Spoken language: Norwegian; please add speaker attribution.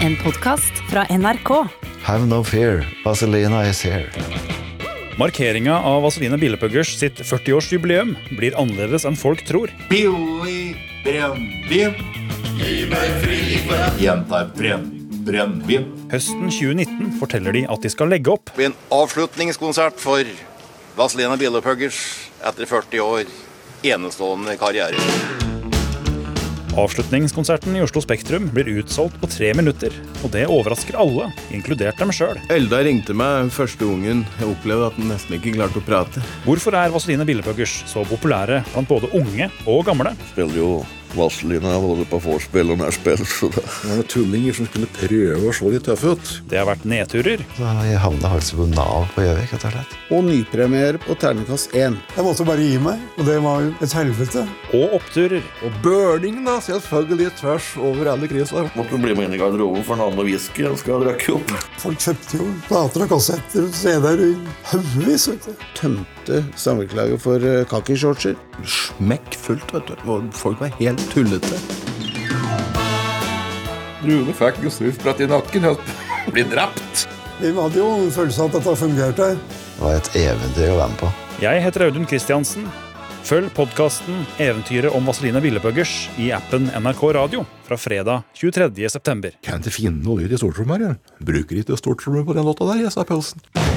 Speaker 1: En podkast fra NRK.
Speaker 2: Have no fear, Vazelina is here.
Speaker 3: Markeringa av Vazelina Bilepuggers sitt 40-årsjubileum blir annerledes enn folk tror.
Speaker 4: Billig brennevin. Gjentar brenn, brennevin.
Speaker 3: Høsten 2019 forteller de at de skal legge opp.
Speaker 5: blir en avslutningskonsert for Vazelina Bielepuggers etter 40 år enestående karriere.
Speaker 3: Avslutningskonserten i Oslo Spektrum blir utsolgt på tre minutter. Og det overrasker alle, inkludert dem sjøl.
Speaker 6: Elda ringte meg første gangen jeg opplevde at han nesten ikke klarte å prate.
Speaker 3: Hvorfor er Vazelina Bilepuggers så populære blant både unge og gamle?
Speaker 7: spiller jo Vazelina både på vorspiel og nachspiel. Så det
Speaker 8: Det var tullinger som skulle prøve å se litt tøffe ut.
Speaker 3: Det har vært nedturer,
Speaker 2: Så Jeg havna faktisk på Nav på Gjøvik. rett og slett.
Speaker 9: og nypremiere på terningkast 1.
Speaker 8: Jeg måtte bare gi meg, og det var jo et helvete.
Speaker 3: og oppturer.
Speaker 8: Og burningen, da. Selvfølgelig tvers over alle kriser.
Speaker 7: måtte bli med inn i garderoben for en annen whisky jeg skal drikke opp.
Speaker 8: Folk kjøpte jo plater og kassetter og CD-er i haugevis. vet du.
Speaker 6: Tømte samvirkelaget for eh, kakishortser. Smekk fullt, vet du. Og folk var helt tullete.
Speaker 10: Rune fikk jo surfbratt i nakken og ble drept.
Speaker 8: Vi hadde jo en følelse av at dette fungerte.
Speaker 2: Det var et eventyr å være med på.
Speaker 3: Jeg heter Audun Kristiansen. Følg podkasten 'Eventyret om Vazelina Bilepuggers' i appen NRK Radio fra fredag 23. september.
Speaker 8: Kan ikke finne noe lyd i stortrommet her. jeg. Bruker ikke stortrommet på den låta der, jeg, sa Pølsen.